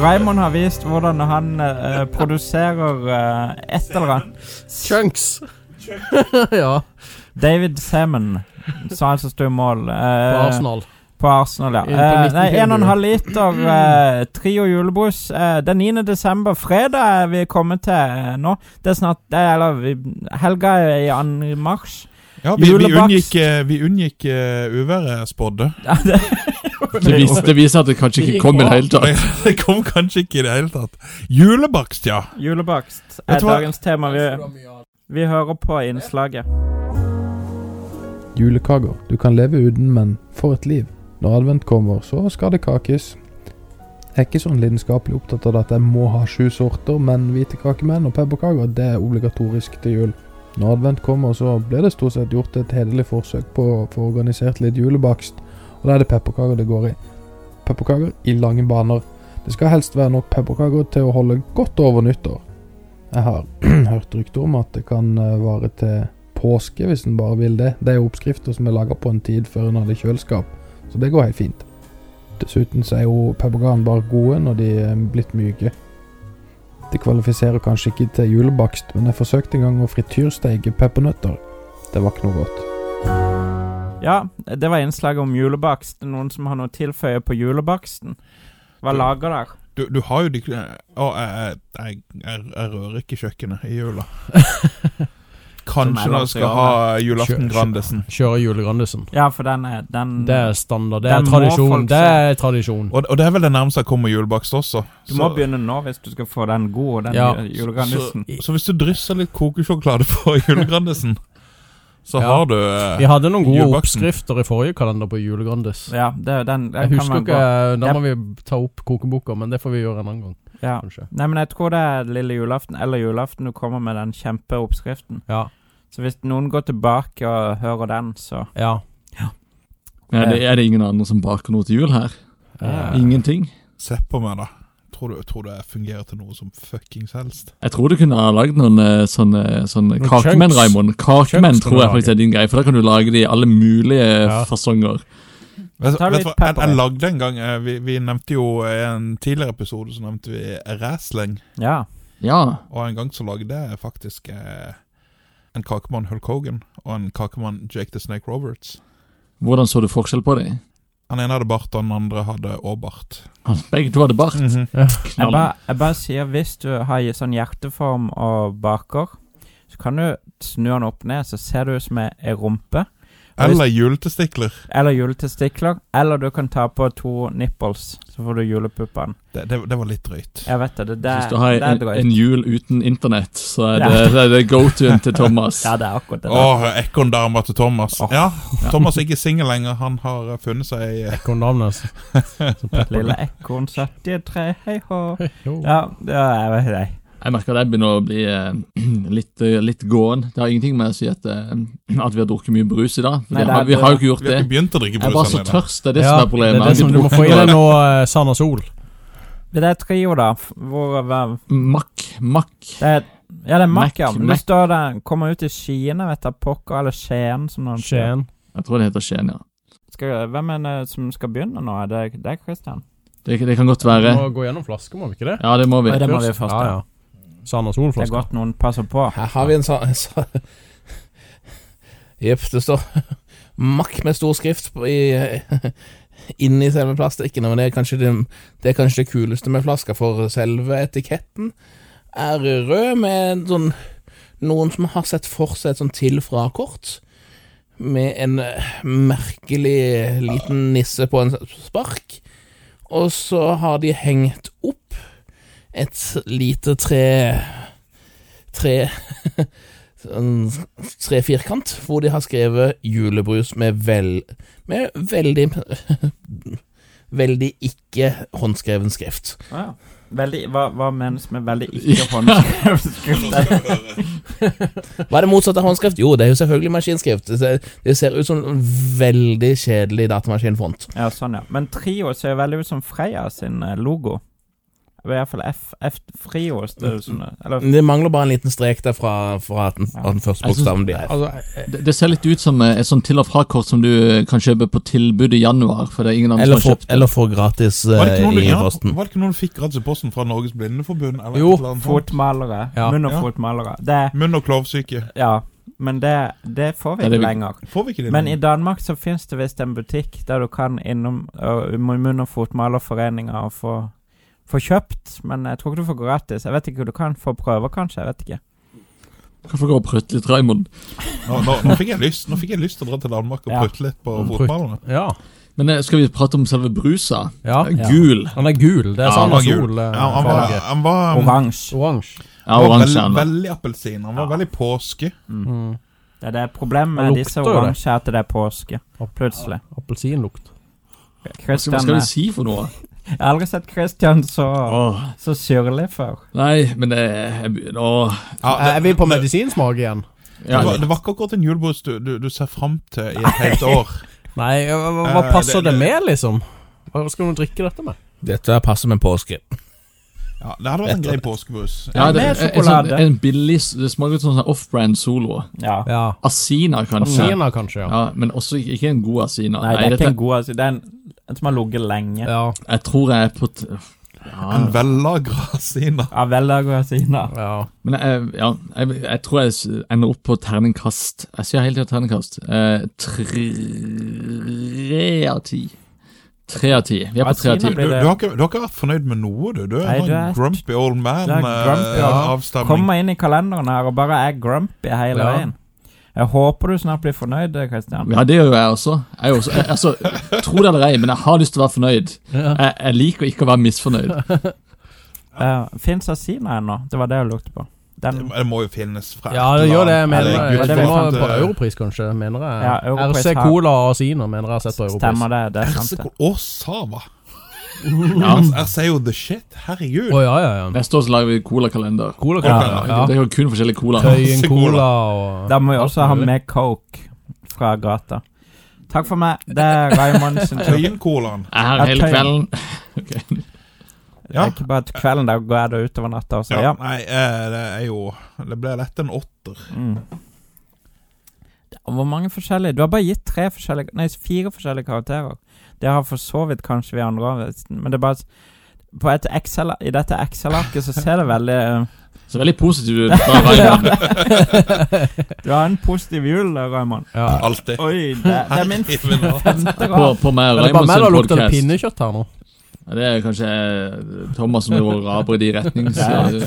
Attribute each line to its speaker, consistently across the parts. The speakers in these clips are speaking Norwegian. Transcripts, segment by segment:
Speaker 1: Raymond har vist hvordan han eh, produserer eh, et eller annet.
Speaker 2: Chunks. ja,
Speaker 1: David Semen, som altså sto i mål.
Speaker 2: på
Speaker 1: eh,
Speaker 2: Arsenal.
Speaker 1: På Arsenal, ja.
Speaker 2: Inn på
Speaker 1: Eh, nei,
Speaker 2: 1900.
Speaker 1: 1,5 liter eh, Trio julebrus. Eh, den 9. desember, fredag er vi kommet til eh, nå. Det er snart det er, Eller vi- helga er i 2. mars.
Speaker 3: Ja, vi, vi
Speaker 1: Julebakst.
Speaker 3: unngikk, eh, vi unngikk eh, uværet jeg spådde.
Speaker 1: Ja, det,
Speaker 4: Det viser, det viser at det kanskje
Speaker 2: Det
Speaker 4: ikke
Speaker 2: gikk
Speaker 4: kom i det
Speaker 2: bra.
Speaker 4: hele tatt.
Speaker 3: Det kom kanskje ikke i det hele tatt. Julebakst, ja.
Speaker 1: julebakst er
Speaker 3: Vet du hva?
Speaker 1: dagens tema. Vi, vi hører på innslaget.
Speaker 5: Julekaker. Du kan leve uten, men for et liv. Når advent kommer, så skal det kakes. Jeg er ikke sånn lidenskapelig opptatt av at jeg må ha sju sorter, men hvite kakemenn og pepperkaker, det er obligatorisk til jul. Når advent kommer, så blir det stort sett gjort et hederlig forsøk på å få organisert litt julebakst, og da er det pepperkaker det går i. Pepperkaker i lange baner. Det skal helst være nok pepperkaker til å holde godt over nyttår. Jeg har hørt rykter om at det kan eh, vare til påske hvis en bare vil det. Det er jo oppskrifter som er laga på en tid før en hadde kjøleskap, så det går helt fint. Dessuten så er jo pepperkakene bare gode når de er blitt myke. Det kvalifiserer kanskje ikke til julebakst, men jeg forsøkte en gang å frityrsteike peppernøtter. Det var ikke noe godt.
Speaker 1: Ja, det var innslaget om julebakst. Noen som har noe å tilføye på julebaksten? Hva lager der?
Speaker 3: Du, du har jo de Å, jeg, jeg, jeg, jeg rører ikke kjøkkenet i jula.
Speaker 1: Som er
Speaker 3: Kanskje
Speaker 1: lov til
Speaker 3: når jeg skal
Speaker 1: å
Speaker 3: ha
Speaker 2: Kjø-
Speaker 3: julaften
Speaker 2: kjø-
Speaker 3: Grandisen.
Speaker 2: Kjøre julegrandisen.
Speaker 1: Ja, for den er den,
Speaker 2: Det er standard. Det
Speaker 1: Mm.
Speaker 2: er
Speaker 1: Den må
Speaker 2: tradisjon.
Speaker 1: folk
Speaker 2: Det
Speaker 1: se.
Speaker 2: er tradisjon.
Speaker 3: Og, og det er vel det nærmeste jeg kommer julebakst også.
Speaker 1: Du må
Speaker 3: Så-
Speaker 1: begynne nå hvis du skal få den gode, den
Speaker 2: Ja,
Speaker 1: ja, julegrandisen.
Speaker 3: Så, så hvis du drysser litt kokesjokolade på julegrandisen, så
Speaker 2: Ja.
Speaker 3: har du
Speaker 2: Vi
Speaker 3: eh,
Speaker 2: hadde noen gode
Speaker 3: Julebaksten.
Speaker 2: oppskrifter i forrige kalender på julegrandis.
Speaker 1: Ja, det, den, den
Speaker 2: Jeg
Speaker 1: kan
Speaker 2: husker
Speaker 1: man
Speaker 2: ikke,
Speaker 1: gå.
Speaker 2: Da må vi ta opp kokeboka, men det får vi gjøre en annen gang.
Speaker 1: Ja.
Speaker 2: kanskje.
Speaker 1: Nei, men jeg tror det er lille julaften eller julaften du kommer med den kjempeoppskriften.
Speaker 2: Ja,
Speaker 1: Så hvis noen går tilbake og hører den, så
Speaker 2: ja.
Speaker 4: Er det, er det ingen andre som baker noe til jul her?
Speaker 2: Eh,
Speaker 4: Ingenting?
Speaker 3: Se på meg, da. Tror du, tror du jeg fungerer til noe som fuckings helst?
Speaker 4: Jeg tror du kunne ha lagd noen eh, sånne, sånne
Speaker 2: Noen
Speaker 4: kakemenn,
Speaker 2: chunks.
Speaker 4: Raimond. Kakemenn
Speaker 2: Chunks kan du
Speaker 4: tror jeg faktisk er din greie, for da kan du lage det i alle mulige
Speaker 2: Ja.
Speaker 4: fasonger.
Speaker 3: Vet,
Speaker 1: Ta
Speaker 3: vet
Speaker 1: litt
Speaker 3: du hva, jeg,
Speaker 1: pepper i.
Speaker 3: jeg lagde en gang eh, vi, vi nevnte jo eh, i en tidligere episode så nevnte vi wrestling.
Speaker 1: ja.
Speaker 4: Ja.
Speaker 3: Og en gang så lagde jeg faktisk eh, en kakemann Hulk Hogan og en kakemann Jake the Snake Roberts.
Speaker 4: Hvordan så du forskjell på dem?
Speaker 3: Han ene hadde bart, og den andre hadde Mhm. åbart.
Speaker 4: Begge to hadde
Speaker 3: Mm.
Speaker 4: bart.
Speaker 1: Jeg
Speaker 4: Knall.
Speaker 1: bare, jeg bare sier, hvis du har i sånn hjerteform og baker, så kan du snu den opp ned, så ser det ut som ei ei rumpe.
Speaker 3: Eller juletestikler.
Speaker 1: Eller juletestikler. Eller du kan ta på to nipples, så får du julepuppene.
Speaker 3: Det, det, det var litt drøyt.
Speaker 1: Jeg vet det. Det, det,
Speaker 4: Hvis du har
Speaker 1: det er
Speaker 4: en, en
Speaker 1: drøyt.
Speaker 4: jul uten internett, så er
Speaker 1: Ja.
Speaker 4: det, det, er det go-to-en til Thomas.
Speaker 1: Ja, det er akkurat det. der.
Speaker 3: Åh, ekorndama til Thomas.
Speaker 1: Åh.
Speaker 3: Ja, Thomas er ikke singel lenger. Han har eh, funnet seg ei eh,
Speaker 2: Kondamnes.
Speaker 1: Lille ekorn 73, hei hå.
Speaker 2: Jo.
Speaker 1: Ja, det er, jeg vet det.
Speaker 4: Jeg merker at jeg begynner å bli eh, litt, eh, litt gåen. Det har ingenting med å si at, eh, at vi har drukket mye brus i dag. For
Speaker 1: Nei,
Speaker 4: det
Speaker 1: det
Speaker 4: har,
Speaker 1: er-
Speaker 4: vi har jo ikke gjort
Speaker 3: Vi har
Speaker 4: det.
Speaker 3: ikke begynt å drikke
Speaker 4: Jeg er bare så
Speaker 3: brus ennå.
Speaker 4: tørst, det er det som er problemet.
Speaker 2: Det er det som du må få i deg nå, eh, Sand og Sol.
Speaker 1: Det er trio, da. f- Hvor, hva-
Speaker 4: Mack, Mack.
Speaker 1: Det er, ja, det er Mac,
Speaker 4: Mac,
Speaker 1: ja. Men det
Speaker 4: Mac.
Speaker 1: står der Kommer ut i Skien, jeg vet da pokker, eller Skien, som noen sier.
Speaker 2: Skien.
Speaker 4: Jeg tror det heter Skien, ja.
Speaker 1: Skal, hvem er det som skal begynne nå? Er det, det er Christian?
Speaker 4: Det, det kan godt
Speaker 2: Vi
Speaker 4: være.
Speaker 2: må gå gjennom flasker, må vi ikke det?
Speaker 4: Ja, det må vi.
Speaker 1: Nei, det må vi først,
Speaker 2: Ja,
Speaker 1: ja.
Speaker 2: ja. Sand og
Speaker 1: Det er
Speaker 2: Sol-flasker.
Speaker 1: godt noen passer på.
Speaker 6: Her har vi en sånn så, Jepp, det står Mack med stor skrift på- i, inni selve plastikken. Men det er, kanskje det, det er kanskje det kuleste med flaska, for selve etiketten er rød med en sånn Noen som har sett for seg et sånn til-fra-kort. Med en eh, merkelig liten nisse på en spark. Og så har de hengt opp et lite tre tre sånn tre firkant, hvor de har skrevet 'julebrus' med vel med veldig Veldig ikke håndskreven skrift.
Speaker 1: Veldig, hva, hva menes med veldig ikke håndskrevet?
Speaker 6: Hva er det motsatte av håndskrift? Jo, det er jo selvfølgelig maskinskrift. Det ser, det ser ut som en veldig kjedelig datamaskinfont.
Speaker 1: ja, sånn, ja. Men trio ser jo veldig ut som Freia sin eh, logo. Det var i hvert fall F, F friost.
Speaker 4: Mm,
Speaker 1: det er jo sånn- Eller
Speaker 6: Det mangler bare en liten strek der fra, fra at den,
Speaker 1: Ja.
Speaker 6: at den første
Speaker 4: Jeg synes-
Speaker 6: bokstaven blir F.
Speaker 2: Altså, eh,
Speaker 4: Det, det ser litt ut som eh, et sånn til og fra-kort som du eh, kan kjøpe på tilbud i januar, for det er ingen andre
Speaker 6: Eller
Speaker 4: som har
Speaker 6: får
Speaker 4: kjøpt det.
Speaker 6: eller får gratis eh,
Speaker 3: Var det ikke noen,
Speaker 6: i
Speaker 3: ja,
Speaker 6: posten.
Speaker 3: var det ikke noen fikk gratis i posten fra Norges Blindeforbund? Eller
Speaker 2: Jo,
Speaker 3: et eller annet sånt?
Speaker 1: fotmalere.
Speaker 2: Ja.
Speaker 1: Munn- og
Speaker 3: Ja.
Speaker 1: fotmalere. Det
Speaker 3: Munn- og klovsyke.
Speaker 1: Ja. Men det, det får vi
Speaker 4: Ja, det
Speaker 1: ikke
Speaker 4: vil-
Speaker 1: lenger.
Speaker 3: Får vi ikke det?
Speaker 1: Men i
Speaker 3: nå?
Speaker 1: Danmark så finnes det visst en butikk der du kan innom øh, munn- og fotmalerforeninger og få, få kjøpt, men jeg tror ikke du får gratis. Jeg vet ikke, du kan få prøver kanskje, jeg vet ikke.
Speaker 4: Kan få gå og prøtte litt, Raymond.
Speaker 3: nå, nå, nå, fikk jeg lyst, nå fikk jeg lyst til å dra til Danmark og
Speaker 1: Ja.
Speaker 3: prutte litt på
Speaker 2: Mm, prutt.
Speaker 3: fotballene.
Speaker 2: ja.
Speaker 4: Men eh, skal vi prate om selve brusa?
Speaker 2: ja.
Speaker 4: Eh, Gul.
Speaker 2: Han er gul. Det
Speaker 3: Ja,
Speaker 2: er
Speaker 3: han var
Speaker 2: Sandnes
Speaker 3: gul.
Speaker 2: Sol. eh,
Speaker 3: Ja, han var,
Speaker 2: farge.
Speaker 3: han var, han var,
Speaker 1: Oransje.
Speaker 2: Oransje.
Speaker 4: Ja, oransje.
Speaker 3: veld,
Speaker 4: han.
Speaker 3: veldig appelsin. Han var
Speaker 1: Ja.
Speaker 3: veldig påske.
Speaker 2: Mm.
Speaker 1: Det er det problemet med
Speaker 2: Det
Speaker 1: disse
Speaker 2: lukter jo det.
Speaker 1: oransje, er at det er påske. Plutselig.
Speaker 2: Appelsinlukt.
Speaker 4: Hva skal- hva
Speaker 1: Christian,
Speaker 4: skal
Speaker 1: er-
Speaker 4: vi si for noe?
Speaker 1: jeg har aldri sett Christian så,
Speaker 4: Åh,
Speaker 1: så syrlig før.
Speaker 4: nei, men det jeg begynner å
Speaker 3: Ja,
Speaker 1: Eh,
Speaker 3: det,
Speaker 2: er vi på medisinsmak igjen?
Speaker 4: ja,
Speaker 3: det, var, det var ikke akkurat en julebrus du, du, du ser fram til i et helt år.
Speaker 2: Nei, eh, hva hva
Speaker 3: Eh,
Speaker 2: passer
Speaker 3: det-
Speaker 2: det,
Speaker 3: det-
Speaker 2: med, liksom? Hva skal du drikke dette med?
Speaker 6: Dette passer med påske.
Speaker 3: Ja, det hadde vært en grei påskebrus.
Speaker 4: ja, det,
Speaker 1: Med
Speaker 4: en, en, sånn,
Speaker 1: sjokolade.
Speaker 4: en billig s- Det smaker ut som sånn off-brand Solo.
Speaker 1: Ja.
Speaker 2: Ja.
Speaker 4: Asina, kanskje.
Speaker 2: Appelsiner, kanskje? Ja.
Speaker 4: Ja, men også ikke- ikke en god asina.
Speaker 1: Nei, det er ikke
Speaker 4: dette,
Speaker 1: en god altså. Det er en, en som har ligget lenge.
Speaker 2: Ja.
Speaker 4: jeg tror jeg er på t ja,
Speaker 3: En vellagra asina.
Speaker 1: Ja, vel, da går jeg siden av.
Speaker 2: ja.
Speaker 4: Men jeg, ja, jeg, jeg tror jeg s- ender opp på terningkast. Jeg sier hele tiden terningkast. Eh, tre av ti. Tre av ti. Vi er på tre
Speaker 1: Asina
Speaker 4: av ti.
Speaker 3: Du,
Speaker 1: blir
Speaker 3: du,
Speaker 1: det-
Speaker 3: har ikke, du har ikke vært fornøyd med noe, du. Du er
Speaker 1: Nei,
Speaker 3: en
Speaker 1: du er-
Speaker 3: sånn grumpy old eh,
Speaker 1: Du er grumpy, ja.
Speaker 3: man-avstamning.
Speaker 1: Kommer inn i kalenderen her og bare er grumpy hele
Speaker 2: Ja.
Speaker 1: veien. Jeg håper du snart blir fornøyd, Christian.
Speaker 4: Ja, det gjør jeg også. Jeg, er også jeg, altså, Tro det eller ei, men jeg har lyst til å være fornøyd. Jeg, jeg liker ikke å være misfornøyd.
Speaker 1: Uh, Fins Asina ennå? Det var det jeg lurte på. Den,
Speaker 3: det, det må jo finnes fra
Speaker 2: ja,
Speaker 3: et
Speaker 2: det
Speaker 3: eller
Speaker 2: gjør det.
Speaker 3: annet.
Speaker 2: Mener
Speaker 3: Eller
Speaker 2: jeg.
Speaker 1: Ja,
Speaker 3: Gud
Speaker 1: det
Speaker 2: Det
Speaker 1: er
Speaker 2: var
Speaker 3: forfant,
Speaker 2: på
Speaker 3: eh,
Speaker 2: europris, kanskje, mener jeg.
Speaker 1: Ja, Europris
Speaker 2: RC
Speaker 1: har-
Speaker 2: Cola og Asiner mener jeg har sett på europris.
Speaker 1: stemmer det? Det er sant.
Speaker 3: Hersekol-
Speaker 1: det.
Speaker 3: Å, Sava. Altså,
Speaker 4: Ja.
Speaker 3: Jeg sier jo the shit. Herregud.
Speaker 2: Å ja, ja, ja.
Speaker 4: Neste år så lager vi colakalender.
Speaker 2: Cola
Speaker 1: Ja,
Speaker 2: Cola. Ja,
Speaker 4: Det er jo kun forskjellige cola.
Speaker 2: Tøyen
Speaker 3: Masse
Speaker 2: Cola
Speaker 1: Da
Speaker 2: og
Speaker 1: må vi også
Speaker 2: alt
Speaker 1: ha
Speaker 2: mulig.
Speaker 1: med Coke fra gata. Takk for meg. Det er Raymond sin tur.
Speaker 3: Tøyen-colaen.
Speaker 4: Jeg er her
Speaker 1: Ja,
Speaker 4: hele
Speaker 1: tøyen.
Speaker 4: kvelden.
Speaker 1: Det er ikke bare til kvelden, da går jeg da utover natta også. Ja.
Speaker 3: Ja, nei, eh, det er jo Det ble lett en åtter.
Speaker 1: Mm. Hvor mange forskjellige Du har bare gitt tre forskjellige Nei, fire forskjellige karakterer. Det har for så vidt kanskje vi andre òg, men det er bare på et Excel, I dette Excel-arket så ser det veldig eh,
Speaker 4: Så veldig positiv ut fra Raymond.
Speaker 1: Du har en positiv jul, da, Raymond.
Speaker 2: ja.
Speaker 3: Alltid.
Speaker 1: Oi, det, det er min
Speaker 3: Herregud, nå.
Speaker 1: femte
Speaker 4: På,
Speaker 1: rad.
Speaker 4: på meg
Speaker 2: Er
Speaker 4: og
Speaker 2: det bare
Speaker 4: Raymond
Speaker 2: meg
Speaker 4: sin
Speaker 2: det lukter det
Speaker 4: podcast.
Speaker 2: pinnekjøtt her nå?
Speaker 4: Ja, det er kanskje eh, Thomas som driver og raper i de retnings...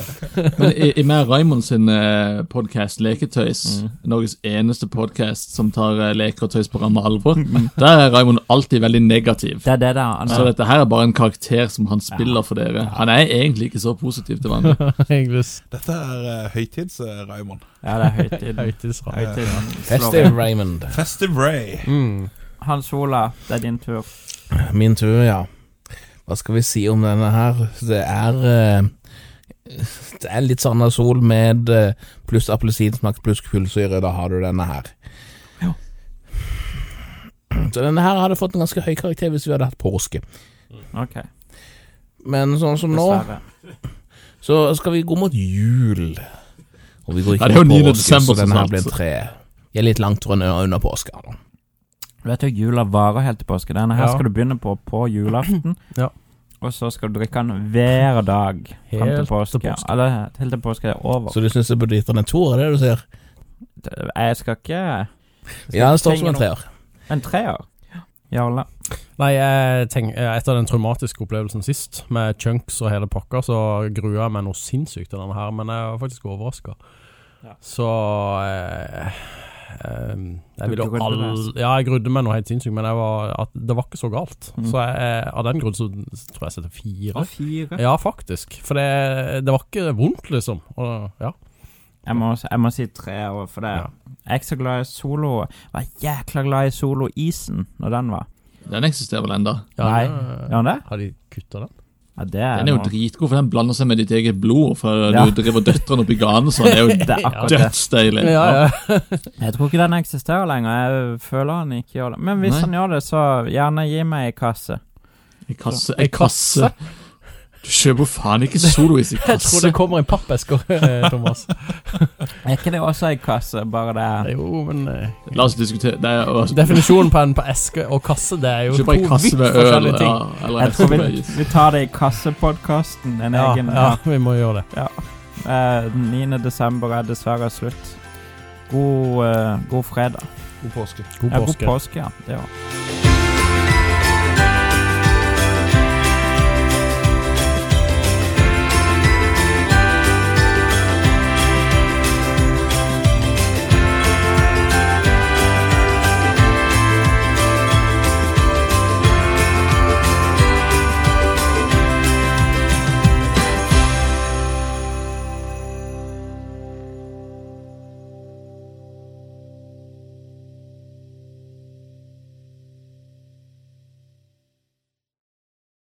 Speaker 4: Men i, i meg og Raymond sin eh, podcast Leketøys,
Speaker 1: Mm.
Speaker 4: Norges eneste podcast som tar eh, leker og tøys på ramme alvor, der er Raymond alltid veldig negativ.
Speaker 1: Det er det, da. Han
Speaker 4: Så
Speaker 1: er,
Speaker 4: dette her er bare en karakter som han spiller for dere. Han er egentlig ikke så positiv til vanlig.
Speaker 2: Egentlig
Speaker 3: Dette er eh, høytids-Raymond.
Speaker 1: ja, det er høytiden.
Speaker 2: høytidsrad.
Speaker 1: høytiden.
Speaker 6: Festive Raymond.
Speaker 3: Festive Ray.
Speaker 2: Mm.
Speaker 1: Hans Ola, det er din tur.
Speaker 6: Min tur, ja. Hva skal vi si om denne her? Det er eh, Det er litt Sandnes Sol med eh, pluss appelsinsmak pluss kullsyre. Da har du denne her.
Speaker 1: Ja.
Speaker 6: Mm. Så denne her hadde fått en ganske høy karakter hvis vi hadde hatt påske.
Speaker 1: Ok,
Speaker 6: Men sånn som nå,
Speaker 1: dessverre.
Speaker 6: så skal vi gå mot jul. Og vi går
Speaker 4: Ja,
Speaker 6: ikke
Speaker 4: det er jo
Speaker 6: mot
Speaker 4: 9.
Speaker 6: påske,
Speaker 4: desember
Speaker 6: så denne
Speaker 4: så
Speaker 6: her blir
Speaker 4: snart.
Speaker 6: tre. Jeg er litt langt under, under påske. Da.
Speaker 1: Du vet jo, jula varer helt til påske. Denne her
Speaker 2: Ja.
Speaker 1: skal du begynne på på julaften.
Speaker 2: Ja.
Speaker 1: Og så skal du drikke den hver dag fram
Speaker 2: Helt
Speaker 1: til
Speaker 2: til
Speaker 1: påske.
Speaker 2: påske.
Speaker 1: Eller helt til påske er over.
Speaker 6: Så du syns jeg burde gitt den en toer, er det du sier?
Speaker 1: Det- Jeg skal ikke
Speaker 6: Ja, det står som en treer.
Speaker 1: En treer. Jarle.
Speaker 2: Nei, jeg tenk, eh, etter den traumatiske opplevelsen sist, med chunks og hele pakka, så grua jeg meg noe sinnssykt til denne her, men jeg var faktisk overraska.
Speaker 1: Ja.
Speaker 2: Så eh, eh,
Speaker 1: Du
Speaker 2: jeg ville jo
Speaker 1: grudde
Speaker 2: all,
Speaker 1: deg, altså.
Speaker 2: Ja, jeg grudde meg noe helt sinnssykt, men jeg var, at det var ikke så galt.
Speaker 1: Mm.
Speaker 2: Så jeg, eh, av den grunn så tror jeg jeg setter fire.
Speaker 1: fire.
Speaker 2: Ja, faktisk. For det, det var ikke vondt, liksom. Og, ja.
Speaker 1: Jeg må, jeg må si tre år for det.
Speaker 2: Ja.
Speaker 1: Jeg er ikke så glad i solo. Jeg var jækla glad i solo-isen når den var.
Speaker 4: Den eksisterer vel enda.
Speaker 1: Nei.
Speaker 2: det-
Speaker 1: Er han det?
Speaker 2: Har de kutta den?
Speaker 1: Ja, det er,
Speaker 4: Den er jo
Speaker 1: noe.
Speaker 4: dritgod, for den blander seg med ditt eget blod, for
Speaker 1: Ja.
Speaker 4: du driver døtteren opp i ganen, så det er jo
Speaker 1: Det er akkurat det.
Speaker 4: dødsdeilig.
Speaker 2: ja.
Speaker 1: Jeg tror ikke den eksisterer lenger. Jeg føler han ikke gjør det. Men hvis
Speaker 4: Nei.
Speaker 1: han gjør det, så gjerne gi meg ei kasse.
Speaker 4: I kasse, i kasse. Du kjøper faen ikke solois i
Speaker 2: Jeg tror
Speaker 4: kasse.
Speaker 2: det kommer i pappesker, eh, Thomas.
Speaker 1: Er ikke det også ei kasse, bare det
Speaker 2: Jo, men eh,
Speaker 4: La oss diskutere det er, altså,
Speaker 2: Definisjonen på en på eske og kasse, det er jo to
Speaker 4: Kjøper ei
Speaker 2: vidt
Speaker 4: kasse med øl.
Speaker 2: forskjellige
Speaker 4: Ja,
Speaker 2: ting.
Speaker 4: eller
Speaker 1: Jeg tror
Speaker 4: eske
Speaker 1: vi,
Speaker 4: med is.
Speaker 1: vi tar det i kassepodkasten. En
Speaker 2: Ja,
Speaker 1: egen.
Speaker 2: ja, vi må gjøre det.
Speaker 1: Eh, den 9. desember er dessverre slutt. God, eh, god fredag.
Speaker 3: God påske.
Speaker 2: God
Speaker 1: Ja, god
Speaker 2: påske.
Speaker 1: påske, ja. Det var.